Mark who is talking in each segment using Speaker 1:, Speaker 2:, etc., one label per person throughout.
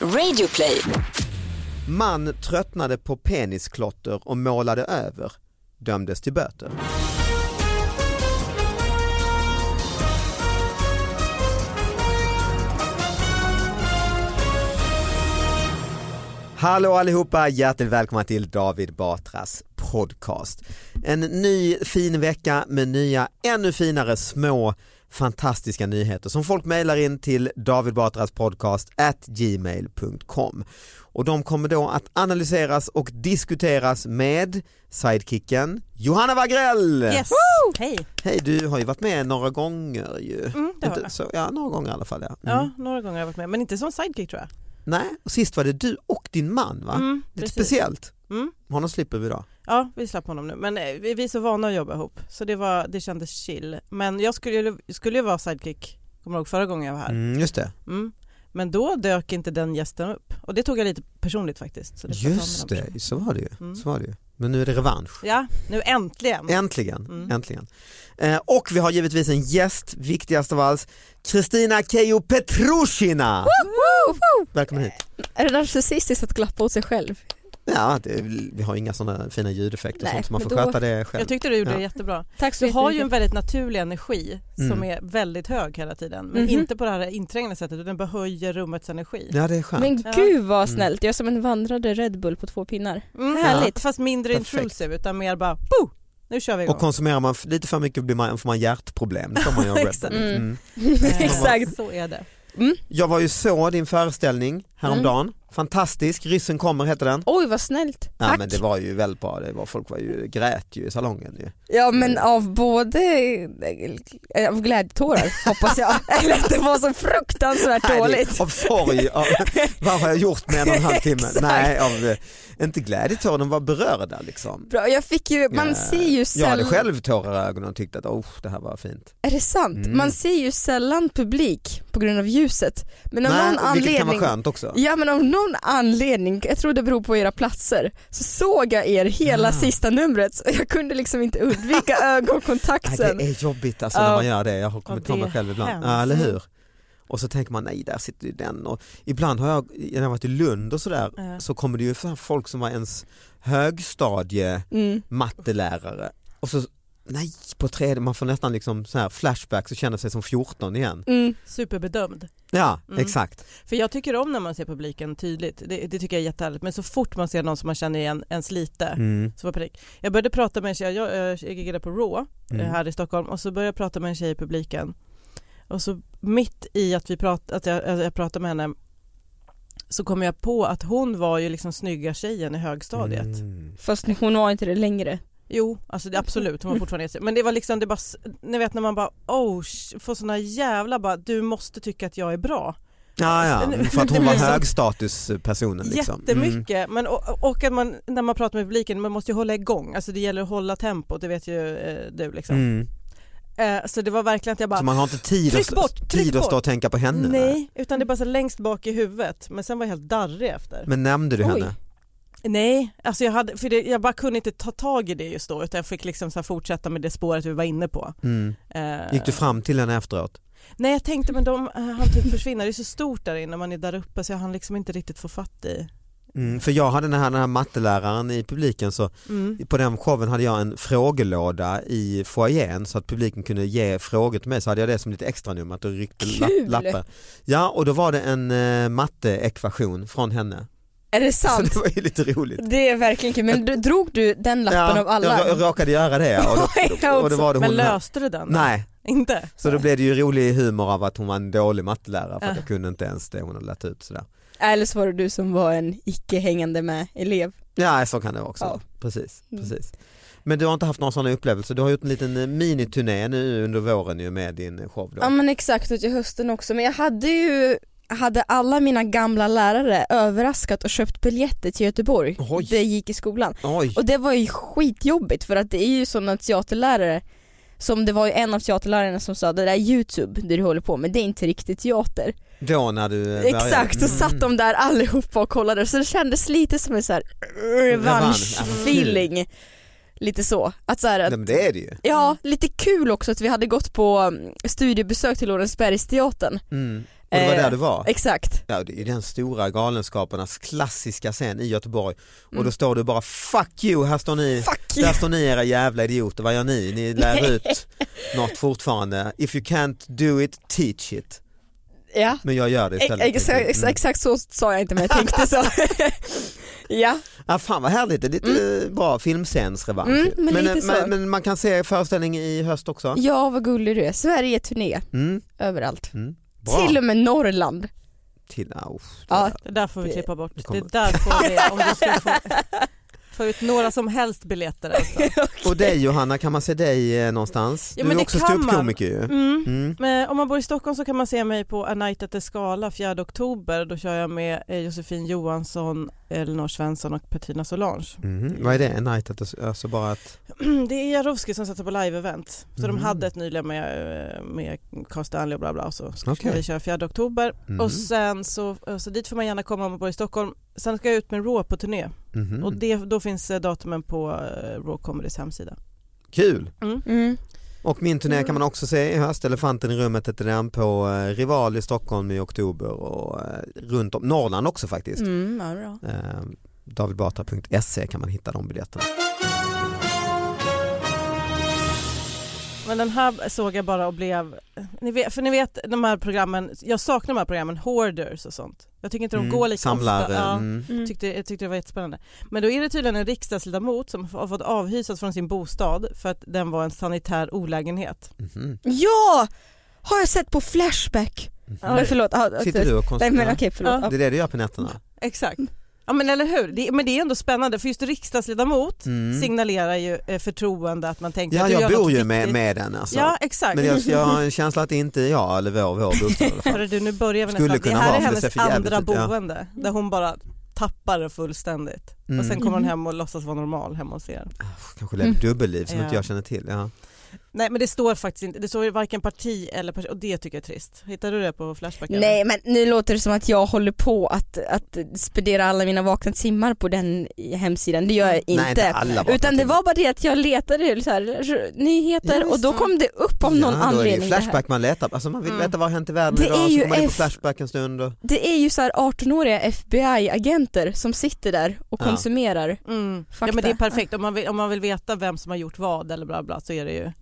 Speaker 1: Radio play.
Speaker 2: Man tröttnade på penisklotter och målade över, dömdes till böter. Hallå allihopa, hjärtligt välkomna till David Batras podcast. En ny fin vecka med nya ännu finare små fantastiska nyheter som folk mejlar in till David Batras podcast at gmail.com och de kommer då att analyseras och diskuteras med sidekicken Johanna Wagrell!
Speaker 3: Yes. Hej.
Speaker 2: Hej, du har ju varit med några gånger ju.
Speaker 3: Mm, det har
Speaker 2: Inte-
Speaker 3: jag.
Speaker 2: så, ja, några gånger i alla fall. Ja. Mm.
Speaker 3: Ja, några gånger har jag varit med, men inte som sidekick tror jag.
Speaker 2: Nej, och sist var det du och din man va?
Speaker 3: Mm,
Speaker 2: Lite
Speaker 3: precis.
Speaker 2: speciellt.
Speaker 3: Mm.
Speaker 2: Honom slipper vi idag.
Speaker 3: Ja, vi slapp honom nu, men eh, vi vi är så vana att jobba ihop så det, var, det kändes chill. Men jag skulle, skulle ju vara sidekick, kommer du ihåg förra gången jag var här?
Speaker 2: Mm, just det.
Speaker 3: Mm. Men då dök inte den gästen upp och det tog jag lite personligt faktiskt. Så det får jag ta med
Speaker 2: Just
Speaker 3: den personen.
Speaker 2: det, så var det ju.
Speaker 3: Mm.
Speaker 2: Så var det ju. Men nu är det revansch.
Speaker 3: Ja, nu äntligen.
Speaker 2: Äntligen,
Speaker 3: Mm.
Speaker 2: äntligen. Eh, och vi har givetvis en gäst, viktigast av allt, Kristina Keijo Petrushina. Välkommen hit.
Speaker 4: Är det narcissistiskt att glappa åt sig själv?
Speaker 2: Ja, det, vi har inga sådana fina ljudeffekter och
Speaker 4: Nej,
Speaker 2: sånt så man
Speaker 4: men
Speaker 2: får
Speaker 4: då-
Speaker 2: sköta det själv.
Speaker 3: Jag tyckte du gjorde
Speaker 2: Ja.
Speaker 3: det jättebra.
Speaker 4: Tack så
Speaker 3: Du har ju en
Speaker 4: jättemycket.
Speaker 3: väldigt naturlig energi
Speaker 2: Mm.
Speaker 3: som är väldigt hög hela tiden, men
Speaker 4: Mhm.
Speaker 3: inte på det här inträngande sättet utan bara höjer rummets energi.
Speaker 2: Ja det är skönt.
Speaker 4: Men
Speaker 3: Ja.
Speaker 4: gud vad
Speaker 2: Mm.
Speaker 4: snällt, jag är som en vandrande Red Bull på två pinnar.
Speaker 3: Mm.
Speaker 4: Härligt.
Speaker 3: Ja. Fast mindre
Speaker 2: Perfekt.
Speaker 3: intrusive utan mer bara Boo! nu kör vi igång.
Speaker 2: Och konsumerar man f- lite för mycket blir man, får man hjärtproblem. Det får man ju av Red Bull.
Speaker 3: Exakt.
Speaker 4: Mm.
Speaker 2: Mm.
Speaker 3: Eh,
Speaker 4: Exakt.
Speaker 3: Så är det.
Speaker 2: Jag var ju så din föreställning häromdagen.
Speaker 4: Mm.
Speaker 2: Fantastisk, Ryssen kommer heter den.
Speaker 4: Oj vad snällt,
Speaker 2: Ja,
Speaker 4: tack.
Speaker 2: men det var ju väldigt bra, det var, folk var ju, grät ju i salongen. Ju.
Speaker 4: av både eh, av glädjetårar hoppas jag, eller att det var så fruktansvärt
Speaker 2: Nej, det-
Speaker 4: dåligt.
Speaker 2: Av sorg, av, vad har jag gjort med en och en halv timme?
Speaker 4: Exakt.
Speaker 2: Nej, av, eh, inte glädjetårar, de var berörda liksom.
Speaker 4: Bra, jag fick ju, man
Speaker 2: Eh,
Speaker 4: ser ju
Speaker 2: Jag
Speaker 4: sällan,
Speaker 2: hade själv tårar i ögonen och tyckte att oh, det här var fint.
Speaker 4: är det sant?
Speaker 2: Mm.
Speaker 4: Man ser ju sällan publik på grund av ljuset. Men av
Speaker 2: Nej,
Speaker 4: någon
Speaker 2: vilket kan
Speaker 4: anledning
Speaker 2: vara skönt också.
Speaker 4: Ja men av någon anledning, jag tror det beror på era platser, så såg jag er hela
Speaker 2: Ah.
Speaker 4: sista numret så jag kunde liksom inte undvika ögonkontakt
Speaker 2: Nej,
Speaker 4: sen.
Speaker 2: det är jobbigt alltså,
Speaker 4: Ja.
Speaker 2: när man gör det, jag har kommit
Speaker 3: Ja,
Speaker 2: på
Speaker 3: det
Speaker 2: mig själv ibland.
Speaker 3: hemskt.
Speaker 2: Ja, eller hur? Och så tänker man nej där sitter ju den och ibland har jag, när jag varit i Lund och sådär
Speaker 3: Ja.
Speaker 2: så kommer det ju fram folk som var ens högstadie
Speaker 4: Mm.
Speaker 2: mattelärare och så nej på tredje, man får nästan liksom så här flashbacks och känner sig som 14 igen.
Speaker 4: Mm.
Speaker 3: Superbedömd.
Speaker 2: Ja
Speaker 3: Mm.
Speaker 2: exakt.
Speaker 3: För jag tycker om när man ser publiken tydligt, det, det tycker jag är jättehärligt, men så fort man ser någon som man känner igen ens lite
Speaker 2: Mm.
Speaker 3: så var panik. Jag började prata med en tjej, jag, eh, jag, jag giggade på Raw eh,
Speaker 2: Mm.
Speaker 3: här i Stockholm och så började jag prata med en tjej i publiken och så mitt i att, vi prat, att jag, jag pratade med henne så kom jag på att hon var ju liksom snygga tjejen i högstadiet.
Speaker 2: Mm.
Speaker 4: Fast hon var inte det längre.
Speaker 3: Jo, alltså det, absolut, hon var fortfarande jättesnygg. Men det var liksom, det bara, s- ni vet när man bara oh, sh- får såna jävla bara, du måste tycka att jag är bra.
Speaker 2: Ja, ja, för att hon var
Speaker 3: Alltså, Det blir så-
Speaker 2: högstatuspersonen. Liksom.
Speaker 3: Jättemycket, men och, och att man, när man pratar med publiken, man måste ju hålla igång, alltså det gäller att hålla tempot, det vet ju eh, du liksom.
Speaker 2: Mm. Mm.
Speaker 5: Eh, så det var verkligen att jag bara...
Speaker 2: Så man har inte tid,
Speaker 5: tryck
Speaker 2: att,
Speaker 5: bort, tryck
Speaker 2: tid att
Speaker 5: bort.
Speaker 2: stå och tänka på henne? eller?
Speaker 5: Nej, utan det är bara så längst bak i huvudet. Men sen var jag helt darrig efter.
Speaker 2: Men nämnde du
Speaker 5: Oj.
Speaker 2: henne?
Speaker 5: Nej, alltså jag, hade, för det, jag bara kunde inte ta tag i det just då utan jag fick liksom så här fortsätta med det spåret vi var inne på.
Speaker 2: Mm.
Speaker 5: Eh,
Speaker 2: Gick du fram till henne efteråt?
Speaker 5: Nej jag tänkte men de eh, han typ försvinner, det är så stort där inne, man är där uppe så jag hann liksom inte riktigt få fatt i.
Speaker 2: Mm, för jag hade den här, den här matteläraren i publiken så
Speaker 5: Mm.
Speaker 2: på den showen hade jag en frågelåda i foajén så att publiken kunde ge frågor till mig så hade jag det som lite extra nummer att du ryckte la-
Speaker 3: Kul!
Speaker 2: lappar. Ja och då var det en eh, matteekvation från henne.
Speaker 3: Är det
Speaker 2: Så
Speaker 3: sant?
Speaker 2: det var ju lite roligt.
Speaker 3: Det är verkligen kul. Men du, drog du den lappen av alla?
Speaker 2: Jag, jag råkade göra det och, då, och då var det hon
Speaker 5: men
Speaker 2: här.
Speaker 5: löste du den? då?
Speaker 2: Nej,
Speaker 5: Inte?
Speaker 2: så då blev det ju rolig humor av att hon var en dålig mattelärare för att
Speaker 3: Ah.
Speaker 2: jag kunde inte ens det hon hade lärt ut sådär.
Speaker 3: Eller så var det du som var en icke hängande med elev.
Speaker 2: Ja så kan det också
Speaker 3: Ja.
Speaker 2: precis,
Speaker 3: Mm.
Speaker 2: precis. Men du har inte haft någon sån upplevelse, du har gjort en liten eh, miniturné nu under våren ju med din eh, show då.
Speaker 3: Ja men exakt och till hösten också men jag hade ju hade alla mina gamla lärare överraskat och köpt biljetter till Göteborg
Speaker 2: Oj.
Speaker 3: det gick i skolan
Speaker 2: Oj,
Speaker 3: och det var ju skitjobbigt för att det är ju sådana teaterlärare som det var ju en av teaterlärarna som sa det där är youtube det du håller på med det är inte riktigt teater
Speaker 2: då när du eh, började.
Speaker 3: Exakt, så satt de där allihopa och kollade så det kändes lite som en så här
Speaker 2: Mm.
Speaker 3: revansch-feeling Lite så, att så här,
Speaker 2: Nej,
Speaker 3: att
Speaker 2: men det är det ju.
Speaker 3: Ja, lite kul också att vi hade gått på mm, studiebesök till Lorensbergsteatern.
Speaker 2: Mm. Och det var
Speaker 3: Eh,
Speaker 2: där du var?
Speaker 3: Exakt.
Speaker 2: Ja, det är ju den stora Galenskaparnas klassiska scen i Göteborg och då
Speaker 3: Mm.
Speaker 2: står du bara 'fuck you' här står ni,
Speaker 3: Fuck
Speaker 2: där
Speaker 3: you.
Speaker 2: står ni era jävla idioter, vad gör ni? Ni lär
Speaker 3: Nej.
Speaker 2: ut något fortfarande, if you can't do it, teach it.
Speaker 3: Ja.
Speaker 2: Men jag gör det
Speaker 3: Ex-
Speaker 2: istället. Mm.
Speaker 3: ex- ex- Exakt så sa jag inte men jag tänkte så. ja,
Speaker 2: Ja, fan vad härligt, det är lite
Speaker 5: Mm.
Speaker 2: eh, bra filmscensrevansch.
Speaker 3: Mm, men
Speaker 2: men,
Speaker 3: lite
Speaker 2: eh,
Speaker 3: så.
Speaker 2: men, men man kan se föreställning i höst också?
Speaker 3: ja vad gullig du är. Sverige turné
Speaker 2: Mm,
Speaker 3: överallt.
Speaker 2: mm. Bra.
Speaker 3: Till och med Norrland.
Speaker 2: Till, ah, uff, det
Speaker 3: Ja.
Speaker 2: där.
Speaker 5: Det där får vi
Speaker 3: Det-
Speaker 5: klippa bort.
Speaker 2: det
Speaker 5: Det
Speaker 2: kommer.
Speaker 5: där får vi, om du ska få, få ut några som helst biljetter alltså.
Speaker 2: Och dig Johanna, kan man se dig eh, någonstans?
Speaker 5: Ja,
Speaker 2: du
Speaker 5: men
Speaker 2: är
Speaker 5: det
Speaker 2: också
Speaker 5: kan man.
Speaker 2: ståuppkomiker ju.
Speaker 5: Mm.
Speaker 2: Mm.
Speaker 5: Men om man bor i Stockholm så kan man se mig på A Night at the Scala 4 oktober. Då kör jag med eh, Josefin Johansson, Elinor Svensson och Petrina Solange.
Speaker 2: Mhm. Vad är det? En night at the, alltså bara att,
Speaker 5: Det är Jarowski som sätter på live-event. Så
Speaker 2: Mm.
Speaker 5: de hade ett nyligen med, eh, med Carl Stanley och bla bla. Och så ska
Speaker 2: Okej.
Speaker 5: vi köra 4 oktober.
Speaker 2: Mm.
Speaker 5: Och sen så, eh, så dit får man gärna komma om man bor i Stockholm. Sen ska jag ut med Raw på turné.
Speaker 2: mhm.
Speaker 5: Och det, då finns eh, datumen på eh, Raw Comedys hemsida.
Speaker 2: Kul!
Speaker 3: Mm.
Speaker 2: Och min
Speaker 5: Mm.
Speaker 2: turné kan man också se i höst, Elefanten i rummet heter den, på eh, Rival i Stockholm i oktober och eh, runt om, Norrland också faktiskt.
Speaker 3: Mm, ja, bra.
Speaker 2: Eh, Davidbatra.se kan man hitta de biljetterna.
Speaker 5: Men den här såg jag bara och blev, ni vet, för ni vet de här programmen, jag saknar de här programmen, hoarders och sånt. Jag tycker inte de
Speaker 2: Mm,
Speaker 5: går lika
Speaker 2: Samlare,
Speaker 5: ofta. Ja,
Speaker 2: mm.
Speaker 3: Mm.
Speaker 5: tyckte, jag tyckte det var jättespännande. Men då är det tydligen en riksdagsledamot som har fått avhysas från sin bostad för att den var en sanitär olägenhet.
Speaker 2: Mhm.
Speaker 3: Ja! Har jag sett på Flashback? Men förlåt. ja, att-
Speaker 2: Sitter du och
Speaker 3: Nej men
Speaker 2: konstaterar?
Speaker 3: okej förlåt.
Speaker 5: Ja.
Speaker 2: Det är det du gör på nätterna?
Speaker 5: Exakt. Ja men eller hur, det, men det är ändå spännande för just riksdagsledamot
Speaker 2: Mm.
Speaker 5: signalerar ju eh, förtroende att man tänker
Speaker 2: Ja,
Speaker 5: att du
Speaker 2: jag
Speaker 5: gör
Speaker 2: bor
Speaker 5: något
Speaker 2: ju med,
Speaker 5: viktigt.
Speaker 2: med den alltså.
Speaker 5: Ja exakt.
Speaker 2: Men jag, jag har en känsla att det inte är jag eller vår, vår bostad i alla fall.
Speaker 5: Hörru du, nu börjar vi
Speaker 2: Skulle
Speaker 5: nästan. Det
Speaker 2: kunna vara,
Speaker 5: här är
Speaker 2: för det ser
Speaker 5: hennes
Speaker 2: för jävligt
Speaker 5: andra
Speaker 2: ut, ja.
Speaker 5: boende där hon bara tappar det fullständigt. Och sen
Speaker 2: Mm.
Speaker 5: kommer hon hem och låtsas vara normal hemma hos er.
Speaker 2: Kanske lever ett dubbelliv som
Speaker 5: Ja.
Speaker 2: inte jag känner till. Ja.
Speaker 5: Nej men det står faktiskt inte, det står ju varken parti eller parti och det tycker jag är trist. Hittar du det på Flashback? eller?
Speaker 3: Nej men nu låter det som att jag håller på att, att spendera alla mina vakna timmar på den i- hemsidan, det gör jag inte.
Speaker 2: Mm. Nej, inte alla vakna
Speaker 3: Utan det
Speaker 2: timmar.
Speaker 3: var bara det att jag letade så här, nyheter
Speaker 2: Ja,
Speaker 3: och då
Speaker 2: visst.
Speaker 3: kom det upp av någon
Speaker 2: ja, då Är det
Speaker 3: anledning.
Speaker 2: ju
Speaker 3: det här.
Speaker 2: flashback man letar på. Alltså man vill
Speaker 5: Mm.
Speaker 2: veta vad har hänt i världen
Speaker 3: Det
Speaker 2: idag
Speaker 3: är
Speaker 2: så
Speaker 3: ju
Speaker 2: går man in på
Speaker 3: F-
Speaker 2: Flashback en stund. Och...
Speaker 3: Det är ju så här 18-åriga FBI-agenter som sitter där och
Speaker 2: Ja.
Speaker 3: konsumerar.
Speaker 5: Mm. Ja
Speaker 3: Fakta.
Speaker 5: men det är perfekt, om man, vill, om man vill veta vem som har gjort vad eller bla bla så är det ju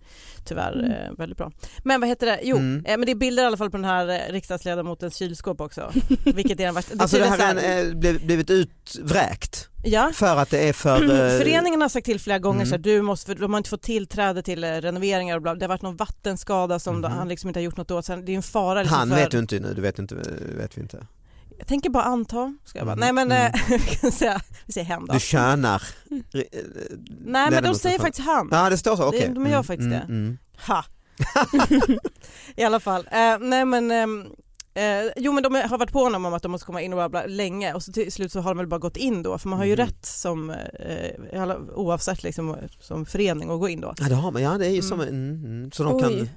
Speaker 5: tyvärr eh, väldigt bra. Men vad heter det, jo
Speaker 2: Mm.
Speaker 5: eh, men det är bilder i alla fall på den här eh, riksdagsledamotens kylskåp också. Eh, Vilket är den värsta.
Speaker 2: Alltså det
Speaker 5: betyder
Speaker 2: här
Speaker 5: så
Speaker 2: har eh, bliv- blivit utvräkt
Speaker 5: ja.
Speaker 2: för att det är för... eh,
Speaker 5: Föreningen har sagt till flera gånger
Speaker 2: Mm.
Speaker 5: så här, du måste, för de har inte fått tillträde till eh, renoveringar och bla, det har varit någon vattenskada som
Speaker 2: Mhm.
Speaker 5: då, han liksom inte har gjort något åt. Sen, det är ju en fara. Liksom
Speaker 2: Han
Speaker 5: för,
Speaker 2: vet du inte nu, du vet, inte, vet vi inte.
Speaker 5: Jag tänker bara anta, ska jag bara.
Speaker 2: Mm.
Speaker 5: Nej men
Speaker 2: Mm.
Speaker 5: eh, vi kan säga, vi säger hen då. Mm.
Speaker 2: Du tjänar. Nej
Speaker 5: Nej men de säger faktiskt han.
Speaker 2: Ja det står så, okej.
Speaker 5: de gör faktiskt det.
Speaker 2: Mm.
Speaker 5: Ha. I alla fall. Eh, nej men ehm,
Speaker 2: Eh, jo men de har varit på honom om att de måste komma in och bla bla länge och så till slut så har de väl bara gått in då för man har ju
Speaker 6: Mm.
Speaker 2: rätt som eh, alla- oavsett liksom som förening att gå in då.
Speaker 6: Ja det har man, ja det är ju som,
Speaker 2: Mm.
Speaker 6: mm, mm, så de kan,
Speaker 2: Oj.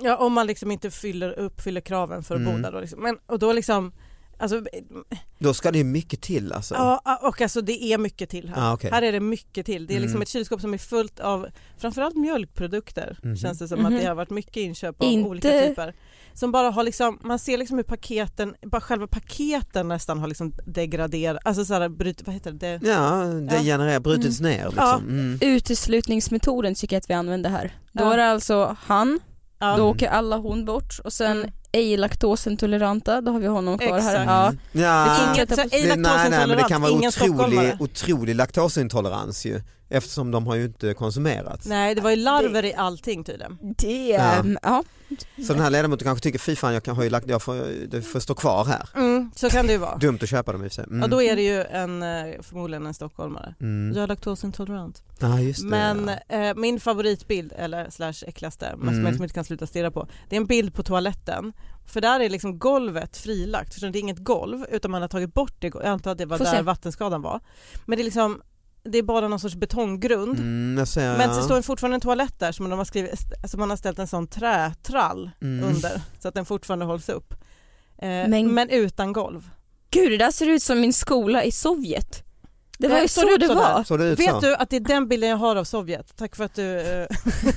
Speaker 2: Ja om man liksom inte fyller, uppfyller kraven för att
Speaker 6: Mm.
Speaker 2: bo där då liksom. Men, och då liksom, alltså,
Speaker 6: då ska det ju mycket till alltså.
Speaker 2: ja och alltså det är mycket till här.
Speaker 6: Ah, okej.
Speaker 2: Här är det mycket till. Det är liksom
Speaker 6: Mm.
Speaker 2: ett kylskåp som är fullt av framförallt mjölkprodukter
Speaker 6: Mhm.
Speaker 2: känns det som att
Speaker 3: Mhm.
Speaker 2: det har varit mycket inköp av
Speaker 3: Inte-
Speaker 2: olika typer. Som bara har liksom, man ser liksom hur paketen, bara själva paketen nästan har liksom degraderat, alltså såhär bryt, vad heter det? det
Speaker 6: Ja, det
Speaker 2: Ja.
Speaker 6: genererar, brutits ner
Speaker 2: Ja.
Speaker 6: liksom. Mm.
Speaker 3: Uteslutningsmetoden tycker jag att vi använder här. Då
Speaker 2: Ja.
Speaker 3: är det alltså han,
Speaker 2: Ja.
Speaker 3: då åker alla hon bort och sen
Speaker 2: Mm.
Speaker 3: ej laktosintoleranta, då har vi honom kvar här.
Speaker 2: Exakt.
Speaker 3: Ja.
Speaker 6: Mm. Ja.
Speaker 2: Inget så här, ej
Speaker 6: Det, nej, nej, men det
Speaker 2: laktosintolerant,
Speaker 6: kan vara
Speaker 2: ingen
Speaker 6: otrolig,
Speaker 2: stockholmare.
Speaker 6: otrolig laktosintolerans ju eftersom de har ju inte konsumerats.
Speaker 2: Nej det var ju larver i allting tydligen.
Speaker 3: Det,
Speaker 6: Ja.
Speaker 3: ja. ja.
Speaker 6: Så den här ledamoten kanske tycker, fy fan jag, kan, har ju lakt, jag får, det får stå kvar här.
Speaker 2: Mm, så kan det ju vara.
Speaker 6: Dumt att köpa dem i och för sig. Mm.
Speaker 2: Ja då är det ju en, eh, förmodligen en stockholmare.
Speaker 6: Mm.
Speaker 2: Jag är laktosintolerant.
Speaker 6: Ja, just det,
Speaker 2: Men
Speaker 6: ja.
Speaker 2: eh, min favoritbild, eller slash äckligaste, men som
Speaker 6: Mm.
Speaker 2: jag liksom inte kan sluta stirra på, det är en bild på toaletten. För där är liksom golvet frilagt, för det är inget golv utan man har tagit bort det, jag antar att det var
Speaker 3: Får
Speaker 2: där
Speaker 3: se.
Speaker 2: vattenskadan var. Men det är liksom, det är bara någon sorts betonggrund.
Speaker 6: Mm, jag ser,
Speaker 2: Men
Speaker 6: ja.
Speaker 2: så står det fortfarande en toalett där som de har skrivit, alltså man har ställt en sån trätrall
Speaker 6: Mm.
Speaker 2: under så att den fortfarande hålls upp. Eh, men...
Speaker 3: Men-
Speaker 2: utan golv.
Speaker 3: Gud det där ser ut som min skola i Sovjet. Det var
Speaker 2: Nej,
Speaker 3: ju
Speaker 2: står
Speaker 3: så
Speaker 2: ut
Speaker 3: det
Speaker 2: sådär?
Speaker 3: var.
Speaker 6: Såg det ut så?
Speaker 2: Vet du att det är den bilden jag har av Sovjet? Tack för att du eh,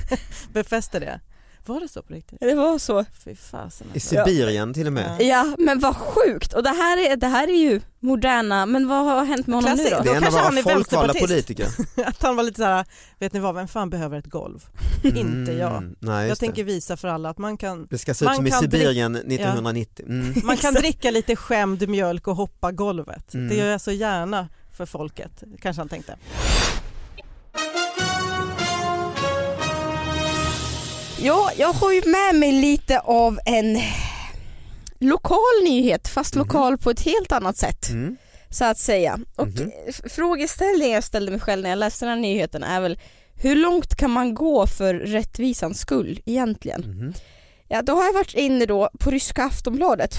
Speaker 2: befäster det. Var det så på riktigt?
Speaker 3: Det var så.
Speaker 2: Fy fasen.
Speaker 6: I
Speaker 2: alltså.
Speaker 6: Sibirien till och med.
Speaker 3: Ja men vad sjukt och det här är, det här är ju moderna, men vad har hänt med honom
Speaker 2: Klassiskt.
Speaker 3: nu då?
Speaker 6: Det är en av
Speaker 2: kanske han
Speaker 6: våra
Speaker 2: är
Speaker 6: folkvalda
Speaker 2: vänsterpartist.
Speaker 6: politiker.
Speaker 2: Att han var lite så här, vet ni vad, vem fan behöver ett golv? Inte jag.
Speaker 6: Mm, Nej,
Speaker 2: Jag
Speaker 6: just
Speaker 2: tänker
Speaker 6: det.
Speaker 2: visa för alla att man kan,
Speaker 6: det ska se ut
Speaker 2: man
Speaker 6: som i
Speaker 2: kan
Speaker 6: Sibirien 1990. Mm.
Speaker 2: man kan dricka lite skämd mjölk och hoppa golvet.
Speaker 6: Mm.
Speaker 2: Det gör jag så gärna för folket, kanske han tänkte.
Speaker 3: Ja, jag har ju med mig lite av en lokal nyhet fast lokal på ett helt annat sätt
Speaker 6: Mhm. Mm.
Speaker 3: så att säga. Och
Speaker 6: Mhm.
Speaker 3: f- frågeställningen jag ställde mig själv när jag läste den här nyheten är väl hur långt kan man gå för rättvisans skull egentligen?
Speaker 6: Mhm.
Speaker 3: Ja, då har jag varit inne då på ryska Aftonbladet.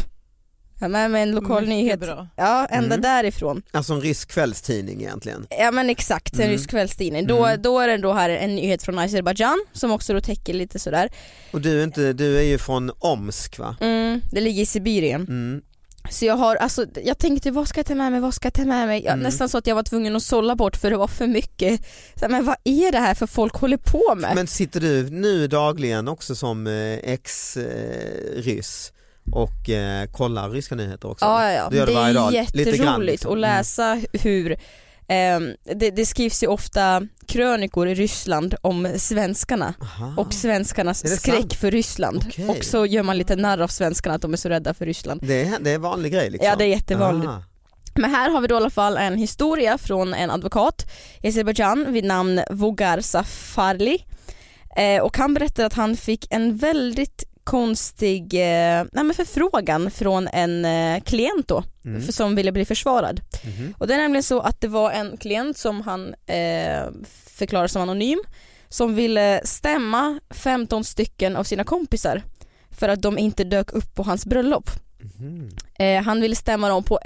Speaker 3: Jag har med mig en lokal
Speaker 2: Mycket
Speaker 3: nyhet.
Speaker 2: Bra.
Speaker 3: Ja, ända
Speaker 6: Mm.
Speaker 3: därifrån.
Speaker 6: Alltså en rysk kvällstidning egentligen.
Speaker 3: Ja men exakt, en
Speaker 6: Mm.
Speaker 3: rysk kvällstidning. Då,
Speaker 6: Mm.
Speaker 3: då är det då här en nyhet från Azerbajdzjan som också då täcker lite sådär.
Speaker 6: Och du är, inte, du är ju från Omsk va?
Speaker 3: Mm, det ligger i Sibirien.
Speaker 6: Mm.
Speaker 3: Så jag har, alltså jag tänkte vad ska jag ta med mig, vad ska jag ta med mig? Jag,
Speaker 6: Mm.
Speaker 3: Nästan så att jag var tvungen att sålla bort för det var för mycket. Så, här, men vad är det här för folk håller på med?
Speaker 6: Men sitter du nu dagligen också som eh, ex-ryss och eh, kollar ryska nyheter också?
Speaker 3: ja, ja, ja.
Speaker 6: Du gör det
Speaker 3: det
Speaker 6: varje dag,
Speaker 3: är
Speaker 6: lite
Speaker 3: jätteroligt
Speaker 6: grann, liksom.
Speaker 3: att
Speaker 6: Mm.
Speaker 3: läsa hur ehm, det, det skrivs ju ofta krönikor i Ryssland om svenskarna
Speaker 6: Aha.
Speaker 3: och svenskarnas
Speaker 6: Är det
Speaker 3: skräck
Speaker 6: sant?
Speaker 3: för Ryssland.
Speaker 6: Okej.
Speaker 3: Och så gör man lite narr av svenskarna att de är så rädda för Ryssland.
Speaker 6: Det, är, det är en vanlig grej liksom?
Speaker 3: Ja, det är jättevanligt.
Speaker 6: Ah.
Speaker 3: Men här har vi då i alla fall en historia från en advokat i Azerbajdzjan vid namn Vogar Safarli. Eh, och han berättar att han fick en väldigt konstig eh, nej men förfrågan från en eh, klient då,
Speaker 6: Mm.
Speaker 3: för, som ville bli försvarad.
Speaker 6: Mhm.
Speaker 3: Och det är nämligen så att det var en klient som han eh, förklarar som anonym som ville stämma 15 stycken av sina kompisar för att de inte dök upp på hans bröllop.
Speaker 6: Mhm.
Speaker 3: Eh, han ville stämma dem på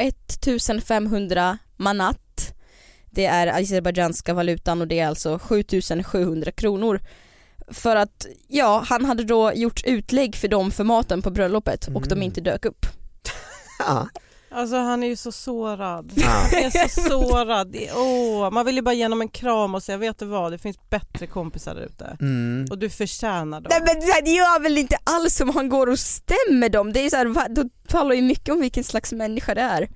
Speaker 3: 1500 manat. Det är azerbajdzjanska valutan och det är alltså 7700 kronor. För att, ja, han hade då gjort utlägg för dem för maten på bröllopet och
Speaker 6: Mm.
Speaker 3: de inte dök upp.
Speaker 6: Ja.
Speaker 2: Alltså han är ju så sårad.
Speaker 6: Ja.
Speaker 2: Jag är så sårad. Det- Åh, man vill ju bara ge honom en kram och säga vet du vad, det finns bättre kompisar där ute.
Speaker 6: Mm.
Speaker 2: Och du förtjänar dem.
Speaker 3: Nej men det här gör väl inte alls om han går och stämmer dem. Det är ju så här, va, då talar ju mycket om vilken slags människa det är.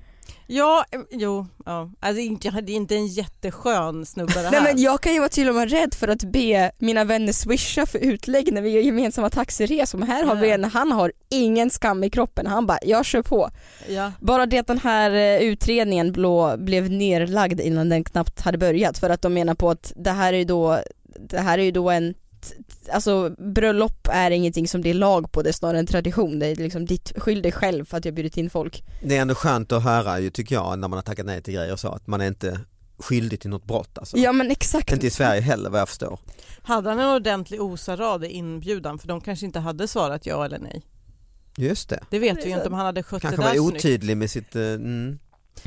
Speaker 2: Ja, eh, jo, ja. Alltså, det är inte- det är inte en jätteskön snubbe det här.
Speaker 3: Nej men jag kan ju vara till och med rädd för att be mina vänner swisha för utlägg när vi gör gemensamma taxiresor. Men här har vi
Speaker 2: Ja.
Speaker 3: en, han har ingen skam i kroppen. Han bara, jag kör på.
Speaker 2: ja.
Speaker 3: Bara det att den här eh, utredningen blå, blev nerlagd innan den knappt hade börjat för att de menar på att det här är ju då, det här är ju då en t- t- Alltså bröllop är ingenting som det är lag på, det är snarare en tradition. Det är liksom ditt, skyll dig själv för att jag bjudit in folk.
Speaker 6: Det är ändå skönt att höra ju tycker jag när man har tackat nej till grejer och så att man är inte skyldig till något brott alltså.
Speaker 3: Ja men exakt.
Speaker 6: Inte i Sverige heller vad jag förstår.
Speaker 2: Hade han en ordentlig osarad i inbjudan? För de kanske inte hade svarat ja eller nej.
Speaker 6: Just det.
Speaker 2: Det vet vi ju inte om han hade skött
Speaker 6: Kanske
Speaker 2: det där
Speaker 6: var
Speaker 2: snyggt.
Speaker 6: otydlig med sitt... eh, Mm.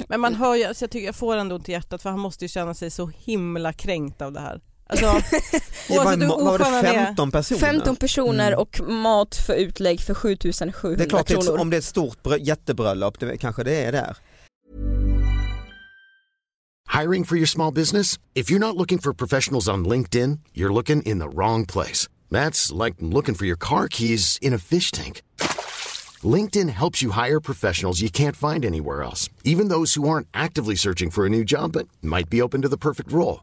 Speaker 2: Men man hör ju, alltså jag tycker jag får ändå ont i hjärtat för han måste ju känna sig så himla kränkt av det här. Alltså,
Speaker 6: Det var,
Speaker 2: oavsett hur
Speaker 6: vad var
Speaker 2: oskön han
Speaker 6: det
Speaker 2: är.
Speaker 6: 15 personer?
Speaker 3: 15 personer
Speaker 6: Mm.
Speaker 3: och mat för utlägg för 7700
Speaker 6: Det är klart, det är ett-
Speaker 3: kronor.
Speaker 6: om det är ett stort brö- jättebröllop, det, kanske det är där.
Speaker 7: Hiring for your small business? If you're not looking for professionals on LinkedIn, you're looking in the wrong place. That's like looking for your car keys in a fish tank. LinkedIn helps you hire professionals you can't find anywhere else, even those who aren't actively searching for a new job but might be open to the perfect role.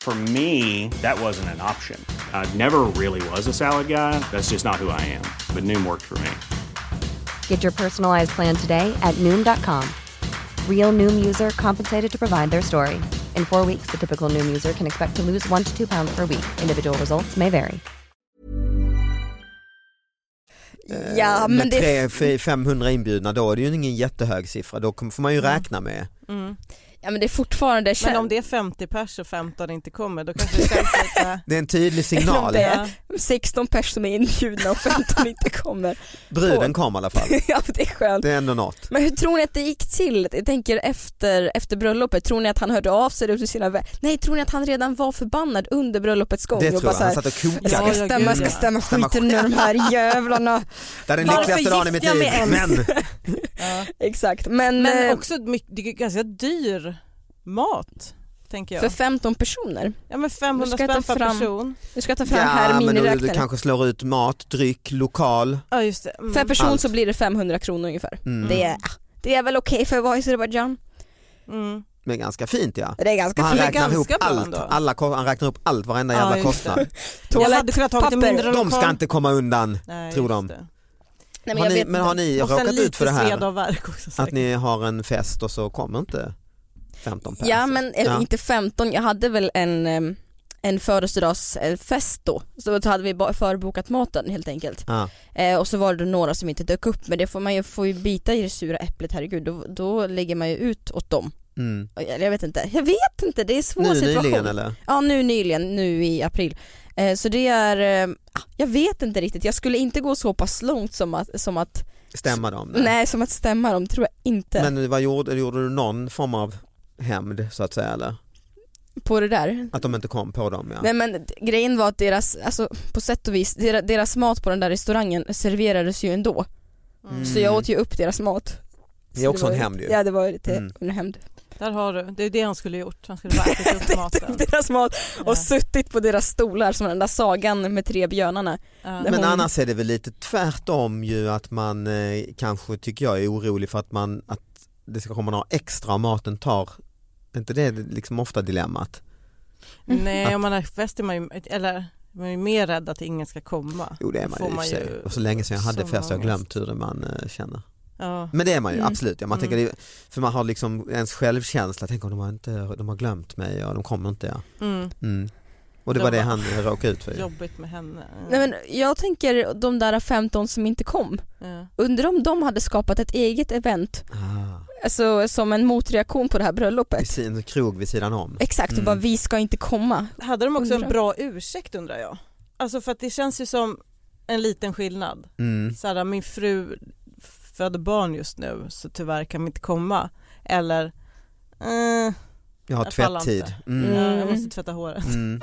Speaker 8: For me, that wasn't an option. I never really was a salad guy. That's just not who I am. But Noom worked for me.
Speaker 9: Get your personalized plan today at Noom.com. Real Noom user compensated to provide their story. In four weeks, the typical Noom user can expect to lose one to two pounds per week. Individual results may vary.
Speaker 6: Eh,
Speaker 3: Ja, men
Speaker 6: med
Speaker 3: det-
Speaker 6: 300-500 inbjudna, då är det ju ingen jättehög siffra, då kom- får man ju räkna med.
Speaker 2: Mm.
Speaker 3: Ja men det är fortfarande
Speaker 2: Men om det är 50 pers och 15 inte kommer då kanske det känns lite...
Speaker 6: Det är en tydlig
Speaker 3: Om
Speaker 6: signal.
Speaker 3: det är 16 personer som är inbjudna och 15 inte kommer.
Speaker 6: Bruden kom i alla fall.
Speaker 3: ja det är skönt.
Speaker 6: Det är ändå något.
Speaker 3: Men hur tror ni att det gick till? Jag tänker efter, efter bröllopet, tror ni att han hörde av sig till sina vänner? Nej, tror ni att han redan var förbannad under bröllopets gång?
Speaker 6: Det
Speaker 3: Och
Speaker 6: tror jag,
Speaker 3: bara så här,
Speaker 6: han satt och kokade.
Speaker 3: Jag ska stämma, jag ska stämma skiten ur de här jävlarna.
Speaker 6: Det är den
Speaker 3: Varför
Speaker 6: lyckligaste dagen i mitt
Speaker 3: gifte jag
Speaker 6: liv.
Speaker 3: mig ens?
Speaker 6: Men
Speaker 3: Exakt, men,
Speaker 2: Men
Speaker 3: eh,
Speaker 2: också my- det är ganska dyr mat, tänker jag.
Speaker 3: för 15 personer.
Speaker 2: Ja men
Speaker 3: Nu
Speaker 2: 500
Speaker 3: ska jag ta
Speaker 2: spänn per
Speaker 3: fram-
Speaker 2: person.
Speaker 3: Nu ska jag ta fram
Speaker 6: ja,
Speaker 3: här
Speaker 6: men då, det
Speaker 3: miniräknaren.
Speaker 6: kanske slår ut mat, dryck, lokal.
Speaker 2: Ja just det. Mm.
Speaker 3: För person
Speaker 6: Allt.
Speaker 3: så blir det 500 kronor ungefär.
Speaker 6: Mm.
Speaker 3: Det, är, det är väl okej för att vara i Azerbajdzjan?
Speaker 2: Mm.
Speaker 6: Men ganska fint ja.
Speaker 3: Det är ganska
Speaker 6: han
Speaker 3: fint.
Speaker 6: räknar
Speaker 3: Det är
Speaker 6: ihop
Speaker 3: ganska bra
Speaker 6: allt,
Speaker 3: ändå.
Speaker 6: alla, ko- han räknar upp allt, varenda
Speaker 3: Ja,
Speaker 6: jävla
Speaker 3: just
Speaker 6: kostnad.
Speaker 2: Jag hade kunnat tagit en
Speaker 3: Toalettpapper.
Speaker 2: mindre
Speaker 6: De ska
Speaker 2: lokal.
Speaker 6: inte komma undan,
Speaker 2: Nej,
Speaker 6: tror de.
Speaker 2: just det.
Speaker 3: Nej, men
Speaker 6: har
Speaker 3: jag
Speaker 6: ni,
Speaker 3: vet
Speaker 6: men har ni
Speaker 2: Och sen
Speaker 6: råkat ut för det
Speaker 2: lite sved
Speaker 6: här?
Speaker 2: av värk också säkert.
Speaker 6: Att ni har en fest och så kommer inte 15 personer?
Speaker 3: Ja men eller
Speaker 6: Ja.
Speaker 3: inte 15, jag hade väl en, em, en födelsedagsfest då. Så då hade vi ba- förbokat maten helt enkelt.
Speaker 6: Ja.
Speaker 3: Eh, och så var det då några som inte dök upp men det får man ju, får ju bita i det sura äpplet herregud då, då lägger man ju ut åt dem.
Speaker 6: Mm.
Speaker 3: Eller jag vet inte, jag vet inte det är en svår
Speaker 6: Nu
Speaker 3: situation.
Speaker 6: nyligen eller?
Speaker 3: Ja nu nyligen, nu i april. Eh, så det är, eh, ah, jag vet inte riktigt, jag skulle inte gå så pass långt som att, som att
Speaker 6: Stämma dem?
Speaker 3: nej. som att stämma dem tror jag inte.
Speaker 6: Men vad gjorde, gjorde du någon form av hämnd så att säga eller?
Speaker 3: På det där,
Speaker 6: Att de inte kom på dem ja.
Speaker 3: Nej men d- grejen var att deras, alltså på sätt och vis, deras, deras mat på den där restaurangen serverades ju ändå.
Speaker 6: Mm.
Speaker 3: Så jag åt ju upp deras mat.
Speaker 6: Det
Speaker 3: Så
Speaker 6: är också
Speaker 3: var
Speaker 6: en hämnd ju.
Speaker 3: Ja det var ju lite
Speaker 6: Mm.
Speaker 3: en hämnd.
Speaker 2: Där har du, det är det han skulle ha gjort. Han skulle bara ätit upp maten.
Speaker 3: typ
Speaker 2: Eh,
Speaker 3: Deras mat och suttit på deras stolar som den där sagan med tre björnarna.
Speaker 2: Ja.
Speaker 3: Där
Speaker 6: Men
Speaker 3: hon-
Speaker 6: annars är det väl lite tvärtom ju att man eh, kanske tycker jag är orolig för att, man, att det ska komma några extra och maten tar. Är inte det liksom ofta dilemmat?
Speaker 2: Nej,
Speaker 6: Att-
Speaker 2: om man är fest är man ju, eller man är ju mer rädd att ingen ska komma.
Speaker 6: Jo det är
Speaker 2: Då
Speaker 6: man,
Speaker 2: får
Speaker 6: ju i och för sig. Och så länge sedan jag hade
Speaker 2: sån
Speaker 6: fest har jag
Speaker 2: ångest.
Speaker 6: glömt hur det man eh, känner.
Speaker 2: Ja.
Speaker 6: Men det är man ju
Speaker 2: Mm.
Speaker 6: absolut, ja, man tänker, det- för man har liksom ens självkänsla, tänk om de har, inte, de har glömt mig och de kommer inte. Ja.
Speaker 2: Mm.
Speaker 6: Mm. Och det
Speaker 2: De
Speaker 6: var det
Speaker 2: bara,
Speaker 6: han råkade ut för. ju.
Speaker 2: Jobbigt med henne.
Speaker 3: Nej men jag tänker de där 15 som inte kom,
Speaker 2: Ja.
Speaker 3: undrar om de hade skapat ett eget event,
Speaker 6: Ah,
Speaker 3: alltså som en motreaktion på det här bröllopet.
Speaker 6: vid sin- en krog vid sidan om.
Speaker 3: Exakt, och
Speaker 6: Mm.
Speaker 3: bara vi ska inte komma.
Speaker 2: Hade de också en
Speaker 3: Undrar.
Speaker 2: bra ursäkt undrar jag? Alltså för att det känns ju som en liten skillnad.
Speaker 6: Mm.
Speaker 2: Så här, min fru föder barn just nu så tyvärr kan vi inte komma. Eller, eh,
Speaker 6: Jag har
Speaker 2: Jag pallar
Speaker 6: tvätttid.
Speaker 2: inte.
Speaker 6: Mm.
Speaker 2: ja, jag måste tvätta håret.
Speaker 6: Mm.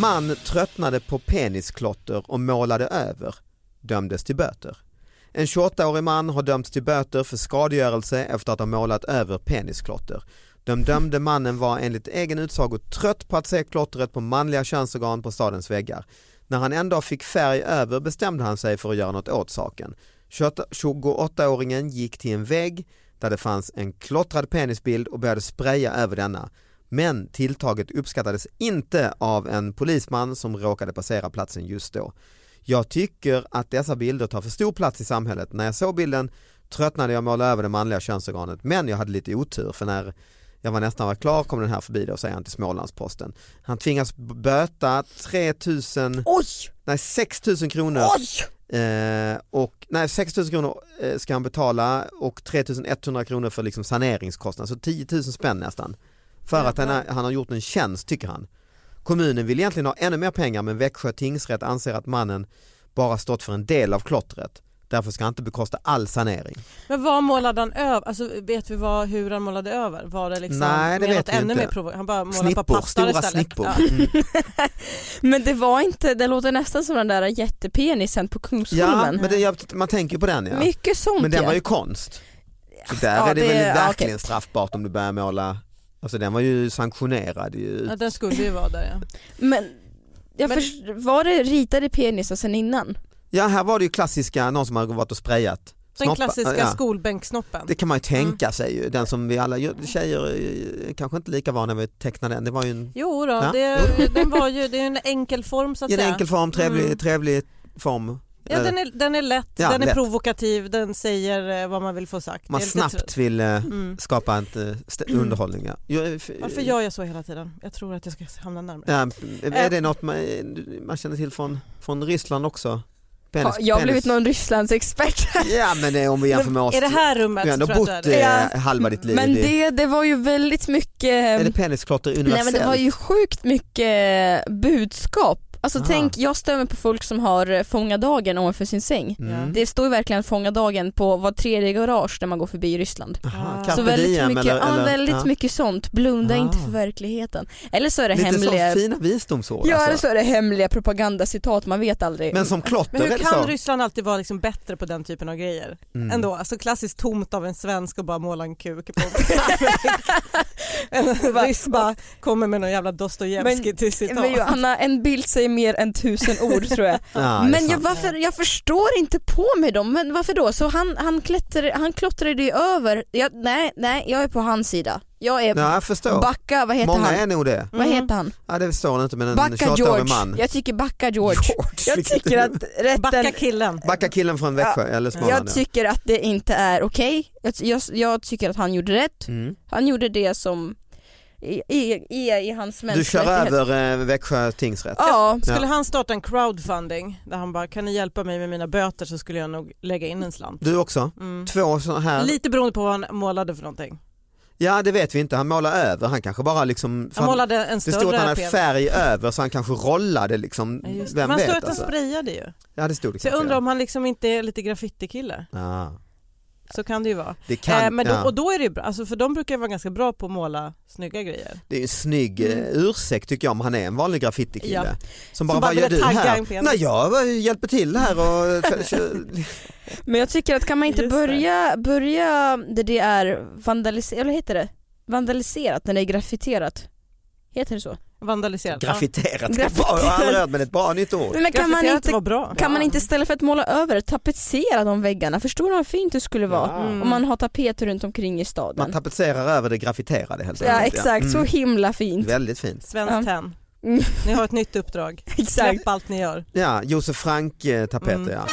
Speaker 6: Man tröttnade på penisklotter och målade över, dömdes till böter. En 28-årig man har dömts till böter för skadegörelse efter att ha målat över penisklotter. Den dömde mannen var enligt egen utsago trött på att se klottret på manliga könsorgan på stadens väggar. När han en dag fick färg över bestämde han sig för att göra något åt saken. 28 28-åringen gick till en vägg där det fanns en klottrad penisbild och började spraya över denna. Men tilltaget uppskattades inte av en polisman som råkade passera platsen just då. Jag tycker att dessa bilder tar för stor plats i samhället. När jag såg bilden tröttnade jag måla över det manliga könsorganet men jag hade lite otur för när jag var nästan var klar kom den här förbi då säger han till Smålandsposten. Han tvingas böta 3000,
Speaker 3: Oj!
Speaker 6: nej 6000 kronor Eh, och, nej, 6 000 kronor eh, ska han betala och 3 100 kronor för liksom saneringskostnad, så 10 000 spänn nästan. För att han, har- han har gjort en tjänst tycker han. Kommunen vill egentligen ha ännu mer pengar men Växjö tingsrätt anser att mannen bara stått för en del av klottret. Därför ska han inte bekosta all sanering.
Speaker 2: Men vad målade han över? Alltså vet vi vad, hur han målade över? Var det liksom
Speaker 6: Nej, det
Speaker 2: med
Speaker 6: vet
Speaker 2: något
Speaker 6: vi
Speaker 2: ännu
Speaker 6: inte.
Speaker 2: mer provo- Han bara målade på
Speaker 6: Snippor,
Speaker 2: pattar
Speaker 6: stora
Speaker 2: istället.
Speaker 6: snippor.
Speaker 2: Ja.
Speaker 6: Mm.
Speaker 3: Men det var inte, det låter nästan som den där jättepenisen på
Speaker 6: Ja,
Speaker 3: Kungsholmen.
Speaker 6: men det, jag- man tänker ju på den ja.
Speaker 3: Mycket sånt
Speaker 6: Men den
Speaker 3: ja.
Speaker 6: var ju konst. Så där
Speaker 3: Ja,
Speaker 6: är det,
Speaker 3: det-
Speaker 6: väl
Speaker 3: ja,
Speaker 6: verkligen
Speaker 3: okej.
Speaker 6: straffbart om du börjar måla, alltså den var ju sanktionerad ju.
Speaker 2: Ja, den skulle ju vara där ja.
Speaker 3: Men, jag
Speaker 2: Men-
Speaker 3: först- var det ritade penisen sen innan?
Speaker 6: Ja här var det ju klassiska, någon som hade varit och sprayat.
Speaker 2: Den
Speaker 6: Snoppa-
Speaker 2: klassiska Mm.
Speaker 6: ja.
Speaker 2: skolbänksnoppen.
Speaker 6: Det kan man ju tänka sig ju, den som vi alla, tjejer är kanske inte lika vana vid att teckna den, det var ju en,
Speaker 2: Jo då,
Speaker 6: Ja.
Speaker 2: det, den var ju, det är ju en enkel form så att
Speaker 6: i en
Speaker 2: säga.
Speaker 6: enkel form, trevlig,
Speaker 2: Mm.
Speaker 6: trevlig form.
Speaker 2: Ja,
Speaker 6: Eh,
Speaker 2: den, är, den är lätt,
Speaker 6: Ja,
Speaker 2: den är
Speaker 6: lätt.
Speaker 2: provokativ, den säger eh, vad man vill få sagt.
Speaker 6: man
Speaker 2: Det är lite trött.
Speaker 6: snabbt vill eh,
Speaker 2: Mm.
Speaker 6: skapa ett, eh, st- underhållning. Ja. Jag, eh, f-
Speaker 2: Varför gör Eh. jag så hela tiden? Jag tror att jag ska hamna närmare.
Speaker 6: Ja, är det något man, man känner till från, från Ryssland också? Penis-
Speaker 3: Ja, jag har
Speaker 6: penis-
Speaker 3: blivit någon Rysslandsexpert.
Speaker 6: Ja men det, är om vi jämför med oss.
Speaker 2: I det här rummet
Speaker 6: du har
Speaker 2: så
Speaker 6: ändå
Speaker 2: tror jag att
Speaker 6: bott
Speaker 2: det är det.
Speaker 6: eh, halva ditt liv.
Speaker 3: Men
Speaker 6: i-
Speaker 3: det, det var ju väldigt mycket
Speaker 6: Är det penisklotter
Speaker 3: Nej men
Speaker 6: universellt?
Speaker 3: det var ju sjukt mycket budskap. Alltså
Speaker 6: Ah.
Speaker 3: tänk, jag stämmer på folk som har eh, fånga dagen ovanför sin säng.
Speaker 6: Mm.
Speaker 3: Det står ju verkligen fånga dagen på var tredje garage när man går förbi i Ryssland.
Speaker 6: Aha,
Speaker 3: Så
Speaker 6: carpe
Speaker 3: väldigt,
Speaker 6: diem
Speaker 3: mycket,
Speaker 6: eller-
Speaker 3: ja,
Speaker 6: eller-
Speaker 3: väldigt
Speaker 6: ja.
Speaker 3: mycket sånt, blunda
Speaker 6: Ah.
Speaker 3: inte för verkligheten. Eller så är det
Speaker 6: Lite
Speaker 3: hemliga,
Speaker 6: så fina visdomsord
Speaker 3: ja, eller
Speaker 6: alltså.
Speaker 3: så är det hemliga propagandacitat, man vet aldrig.
Speaker 6: Men som klotter
Speaker 2: Men
Speaker 6: är
Speaker 2: hur
Speaker 6: det så?
Speaker 2: kan Ryssland alltid vara liksom bättre på den typen av grejer?
Speaker 6: Mm.
Speaker 2: Ändå, alltså klassiskt tomt av en svensk och bara måla en kuk på
Speaker 3: Och
Speaker 2: En
Speaker 3: bara-
Speaker 2: ryss bara kommer med någon jävla Dostojevskij till citat.
Speaker 3: Men Johanna, en bild säger mer än tusen ord tror jag.
Speaker 6: Ja, det är
Speaker 3: men jag,
Speaker 6: sant.
Speaker 3: varför, jag förstår inte på mig dem, men varför då? Så han, han, klättrade, han klottrade ju över, jag, nej, nej jag är på hans sida. Jag är
Speaker 6: Ja, jag förstår.
Speaker 3: Backa, vad heter
Speaker 6: Många
Speaker 3: han?
Speaker 6: är Mm. nog det.
Speaker 3: Vad heter han?
Speaker 6: Ja, det står inte men en
Speaker 3: Backa
Speaker 6: 28-årig
Speaker 3: George.
Speaker 6: man.
Speaker 3: Jag tycker Backa George. jag
Speaker 6: vilket-
Speaker 3: tycker att rätten...
Speaker 2: Backa killen.
Speaker 6: Backa killen från Växjö eller Småland.
Speaker 3: Jag tycker att det inte är okej. Jag, jag, jag tycker att han gjorde rätt.
Speaker 6: Mm.
Speaker 3: Han gjorde det som i, i, i, i hans
Speaker 6: Du
Speaker 3: mänskliga
Speaker 6: kör
Speaker 3: rättigheter.
Speaker 6: över eh, Växjö tingsrätt.
Speaker 3: Ja.
Speaker 2: Skulle han starta en crowdfunding där han bara kan ni hjälpa mig med mina böter så skulle jag nog lägga in en slant.
Speaker 6: Du också?
Speaker 2: Mm.
Speaker 6: Två sådana här.
Speaker 2: Lite beroende på vad han målade för någonting.
Speaker 6: Ja det vet vi inte, han målar över, han kanske bara liksom... för
Speaker 2: Han målade en
Speaker 6: det stod att
Speaker 2: större
Speaker 6: han hade
Speaker 2: penis.
Speaker 6: färg över så han kanske rollade liksom,
Speaker 2: Ja, just det.
Speaker 6: vem
Speaker 2: Men han
Speaker 6: vet
Speaker 2: står att han
Speaker 6: alltså.
Speaker 2: sprayade ju.
Speaker 6: Ja det stod det
Speaker 2: Så jag
Speaker 6: kanske,
Speaker 2: undrar
Speaker 6: ja.
Speaker 2: om han liksom inte är lite graffitikille.
Speaker 6: Ah,
Speaker 2: Så kan det ju vara.
Speaker 6: det, kan,
Speaker 2: eh, men då,
Speaker 6: ja.
Speaker 2: Och då är det ju bra, alltså för de brukar ju vara ganska bra på att måla snygga grejer.
Speaker 6: det är ju en snygg eh, ursäkt tycker jag om han är en vanlig graffitikille.
Speaker 2: Mm. Ja.
Speaker 6: Som bara,
Speaker 2: bara
Speaker 6: vad gör
Speaker 2: ville
Speaker 6: du
Speaker 2: tagga
Speaker 6: här?
Speaker 2: en penis.
Speaker 6: Nej jag eh, hjälper till här och...
Speaker 3: Men jag tycker att kan man inte
Speaker 2: Just det.
Speaker 3: börja, börja där det är vandaliserat, eller heter det? Vandaliserat, när det är graffiterat. Heter det så?
Speaker 2: Vandaliserat.
Speaker 6: Graffiterat, det är
Speaker 3: Graffiterat.
Speaker 6: bra, jag har aldrig hört men det är ett bra nytt ord.
Speaker 3: Men, men
Speaker 2: Ja.
Speaker 3: kan, man
Speaker 2: Graffiterat
Speaker 3: inte,
Speaker 2: var bra.
Speaker 3: kan man inte istället för att måla över tapetsera de väggarna? Förstår du hur fint det skulle vara
Speaker 6: Ja.
Speaker 3: om man har tapeter runt omkring i staden?
Speaker 6: Man tapetserar över det graffiterade helt
Speaker 3: ja exakt, så
Speaker 6: Mm.
Speaker 3: himla fint.
Speaker 6: Väldigt fint.
Speaker 3: Ja.
Speaker 2: Svenskt tenn.
Speaker 3: Mm.
Speaker 2: Ni har ett nytt uppdrag.
Speaker 3: exakt.
Speaker 2: Släpp allt ni gör.
Speaker 6: Ja, Josef Frank-tapeter
Speaker 2: Mm.
Speaker 6: ja.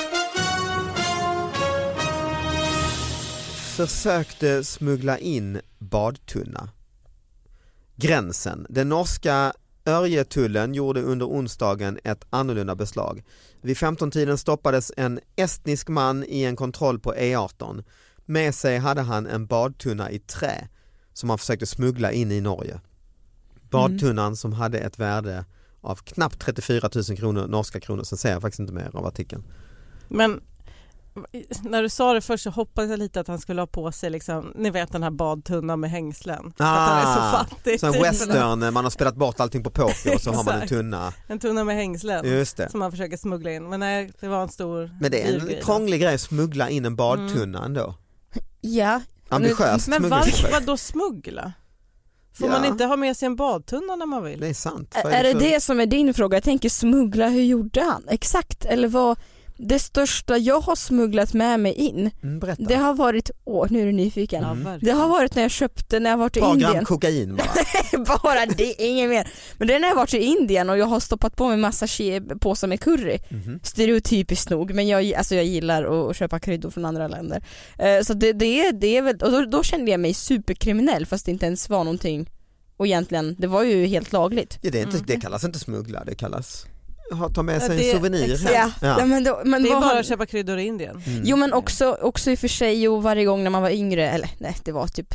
Speaker 6: Försökte smuggla in badtunna. Gränsen. Den norska Örjetullen gjorde under onsdagen ett annorlunda beslag. Vid 15-tiden stoppades en estnisk man i en kontroll på E18. Med sig hade han en badtunna i trä som han försökte smuggla in i Norge. Badtunnan som hade ett värde av knappt 34 000 kronor, norska kronor, sen säger jag faktiskt inte mer av artikeln.
Speaker 2: Men när du sa det först så hoppades jag lite att han skulle ha på sig liksom, ni vet den här badtunnan med hängslen. För att han är så fattig.
Speaker 6: Sen
Speaker 2: typ.
Speaker 6: Ah, western, man har spelat bort allting på poker och så har man en
Speaker 2: Exakt.
Speaker 6: tunna.
Speaker 2: En tunna med hängslen
Speaker 6: Just det.
Speaker 2: som han försöker smuggla in. Men nej, det var en stor
Speaker 6: Men det är
Speaker 2: dyr grej
Speaker 6: en
Speaker 2: då.
Speaker 6: krånglig grej att smuggla in
Speaker 3: Mm.
Speaker 6: en badtunna ändå.
Speaker 3: Ja,
Speaker 6: Ambitiöst
Speaker 2: Men varför
Speaker 6: smugglingsförsök.
Speaker 2: vadå smuggla? Får
Speaker 6: Ja.
Speaker 2: man inte ha med sig en badtunna när man vill?
Speaker 6: Det är sant. Vad
Speaker 3: är det
Speaker 6: för-
Speaker 3: det som är din fråga? Jag tänker smuggla, hur gjorde han? Exakt, eller vad? det största jag har smugglat med mig in,
Speaker 6: Mm, berätta.
Speaker 3: det har varit, åh nu är du nyfiken.
Speaker 6: Mm.
Speaker 3: Det har varit när jag köpte, när jag var i
Speaker 6: Ett par gram
Speaker 3: Indien.
Speaker 6: kokain bara.
Speaker 3: bara det, inget mer. Men det är när jag varit i Indien och jag har stoppat på mig massa ke- påsar med curry.
Speaker 6: Mhm.
Speaker 3: Stereotypiskt nog, men jag, alltså jag gillar att- att köpa kryddor från andra länder. Eh, Så det, det, är- det är väl, och då, då kände jag mig superkriminell fast det inte ens var någonting. Och egentligen, det var ju helt lagligt.
Speaker 6: Ja, det, är inte,
Speaker 3: Mm.
Speaker 6: det kallas inte smuggla, det kallas ha, ta med
Speaker 3: Ja,
Speaker 6: sig
Speaker 3: det-
Speaker 6: en souvenir
Speaker 3: exakt. Ja. Ja, men då- men
Speaker 2: det är
Speaker 3: vad
Speaker 2: bara
Speaker 3: har-
Speaker 2: att köpa kryddor i Indien.
Speaker 6: Mm.
Speaker 3: Jo men också, också i och för sig och varje gång när man var yngre, eller nej det var typ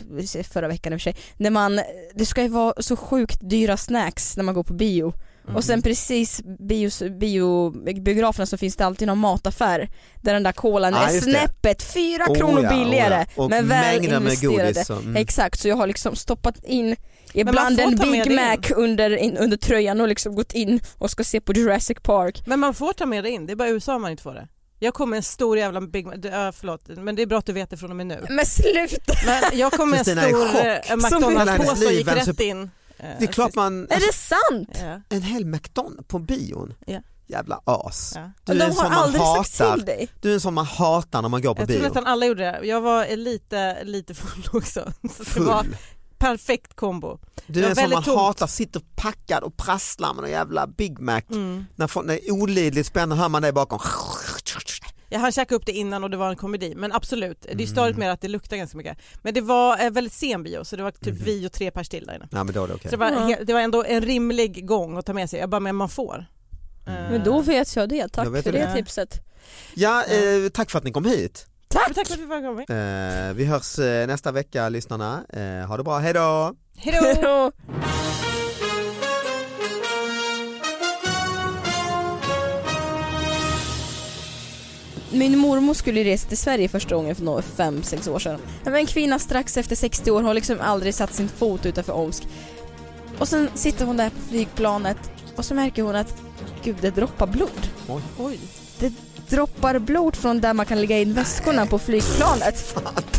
Speaker 3: förra veckan i och för sig, när man, det ska ju vara så sjukt dyra snacks när man går på bio.
Speaker 6: Mm.
Speaker 3: Och sen precis bios, bio, biograferna så finns det alltid någon mataffär där den där kolan
Speaker 6: Ah,
Speaker 3: är
Speaker 6: just det.
Speaker 3: snäppet fyra
Speaker 6: Oh,
Speaker 3: kronor
Speaker 6: ja, oh, ja.
Speaker 3: billigare
Speaker 6: Och
Speaker 3: men väl
Speaker 6: mängder med
Speaker 3: investerade.
Speaker 6: godis och- mm.
Speaker 3: Exakt, så jag har liksom stoppat in
Speaker 2: man
Speaker 3: ibland
Speaker 2: får
Speaker 3: en
Speaker 2: ta med det
Speaker 3: Big
Speaker 2: in.
Speaker 3: Mac under, in, under tröjan och liksom gått in och ska se på Jurassic Park.
Speaker 2: Men man får ta med det in, det är bara i USA man inte får det. Jag kom med en stor jävla Big Mac, det- ja, förlåt men det är bra att du vet det från och med nu.
Speaker 3: Men sluta!
Speaker 2: Men jag kom med en
Speaker 6: Kristina är i
Speaker 2: stor
Speaker 6: chock.
Speaker 2: eh,
Speaker 6: Som hela hennes
Speaker 2: McDonalds-påse och
Speaker 6: liv,
Speaker 2: gick
Speaker 6: alltså-
Speaker 2: rätt in.
Speaker 6: Det är klart man, alltså,
Speaker 3: Är det sant?
Speaker 2: Ja.
Speaker 6: en hel McDonald på bion,
Speaker 2: Ja.
Speaker 6: jävla as.
Speaker 2: Ja.
Speaker 6: Du är en sån man hatar.
Speaker 3: dig.
Speaker 6: Du är en sån man hatar när man går på
Speaker 2: Jag tror
Speaker 6: bio.
Speaker 2: nästan alla gjorde det. Jag var lite, lite full också. Så det var
Speaker 6: Full.
Speaker 2: perfekt kombo.
Speaker 6: Du
Speaker 2: det
Speaker 6: är
Speaker 2: var
Speaker 6: en sån man
Speaker 2: väldigt tomt.
Speaker 6: hatar, sitter packad och prasslar med en jävla Big Mac.
Speaker 2: Mm.
Speaker 6: När folk- när det är olidligt spännande hör man det bakom.
Speaker 2: Jag hann käka upp det innan och det var en komedi men absolut, det är störigt mer att det luktar ganska mycket. Men det var eh, väldigt sen bio så det var typ vi och tre pers till där inne.
Speaker 6: Nej men då är det okej.
Speaker 2: Så det var, he- det var ändå en rimlig gång att ta med sig, jag bara men man får. Eh,
Speaker 3: Men då vet jag det,
Speaker 6: Då
Speaker 3: tack
Speaker 6: vet
Speaker 3: för
Speaker 6: du
Speaker 3: det,
Speaker 6: det.
Speaker 3: tipset.
Speaker 6: Ja, eh, tack för att ni kom hit.
Speaker 2: Tack! Tack för att vi fick komma.
Speaker 6: Eh, vi hörs eh, nästa vecka lyssnarna. Eh, ha det bra, hej då!
Speaker 2: Hejdå!
Speaker 3: Min mormor skulle resa till Sverige första gången för några fem sex år sedan. Men en kvinna strax efter 60 år har liksom aldrig satt sin fot utanför Omsk. Och sen sitter hon där på flygplanet och så märker hon att gud det droppar blod.
Speaker 6: Oj.
Speaker 2: Oj.
Speaker 3: Det droppar blod från där man kan lägga in väskorna på flygplanet.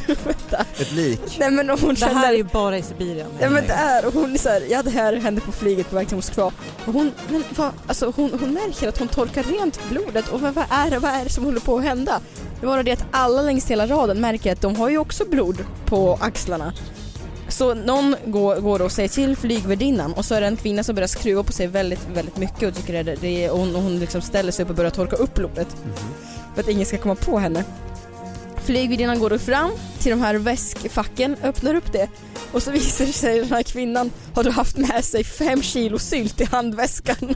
Speaker 3: Vänta.
Speaker 6: Ett lik.
Speaker 3: Nej men hon
Speaker 2: Det här
Speaker 3: känner
Speaker 2: är ju bara i Sibirien.
Speaker 3: Ja men det är, och hon är så här, ja det här hände på flyget på väg till Moskva. Och hon, men vad, alltså hon, hon märker att hon torkar rent blodet och vad, vad, är det, vad är det som håller på att hända? Det var det att alla längs hela raden märker att de har ju också blod på axlarna. Så någon går, går och säger till flygvärdinnan och så är det en kvinna som börjar skruva på sig väldigt, väldigt mycket och tycker det, det är, och hon, hon liksom ställer sig upp och börjar torka upp blodet för att ingen ska komma på henne. Flygvärdinnan går då fram till de här väskfacken, öppnar upp det och så visar det sig att den här kvinnan har då haft med sig fem kilo sylt i handväskan.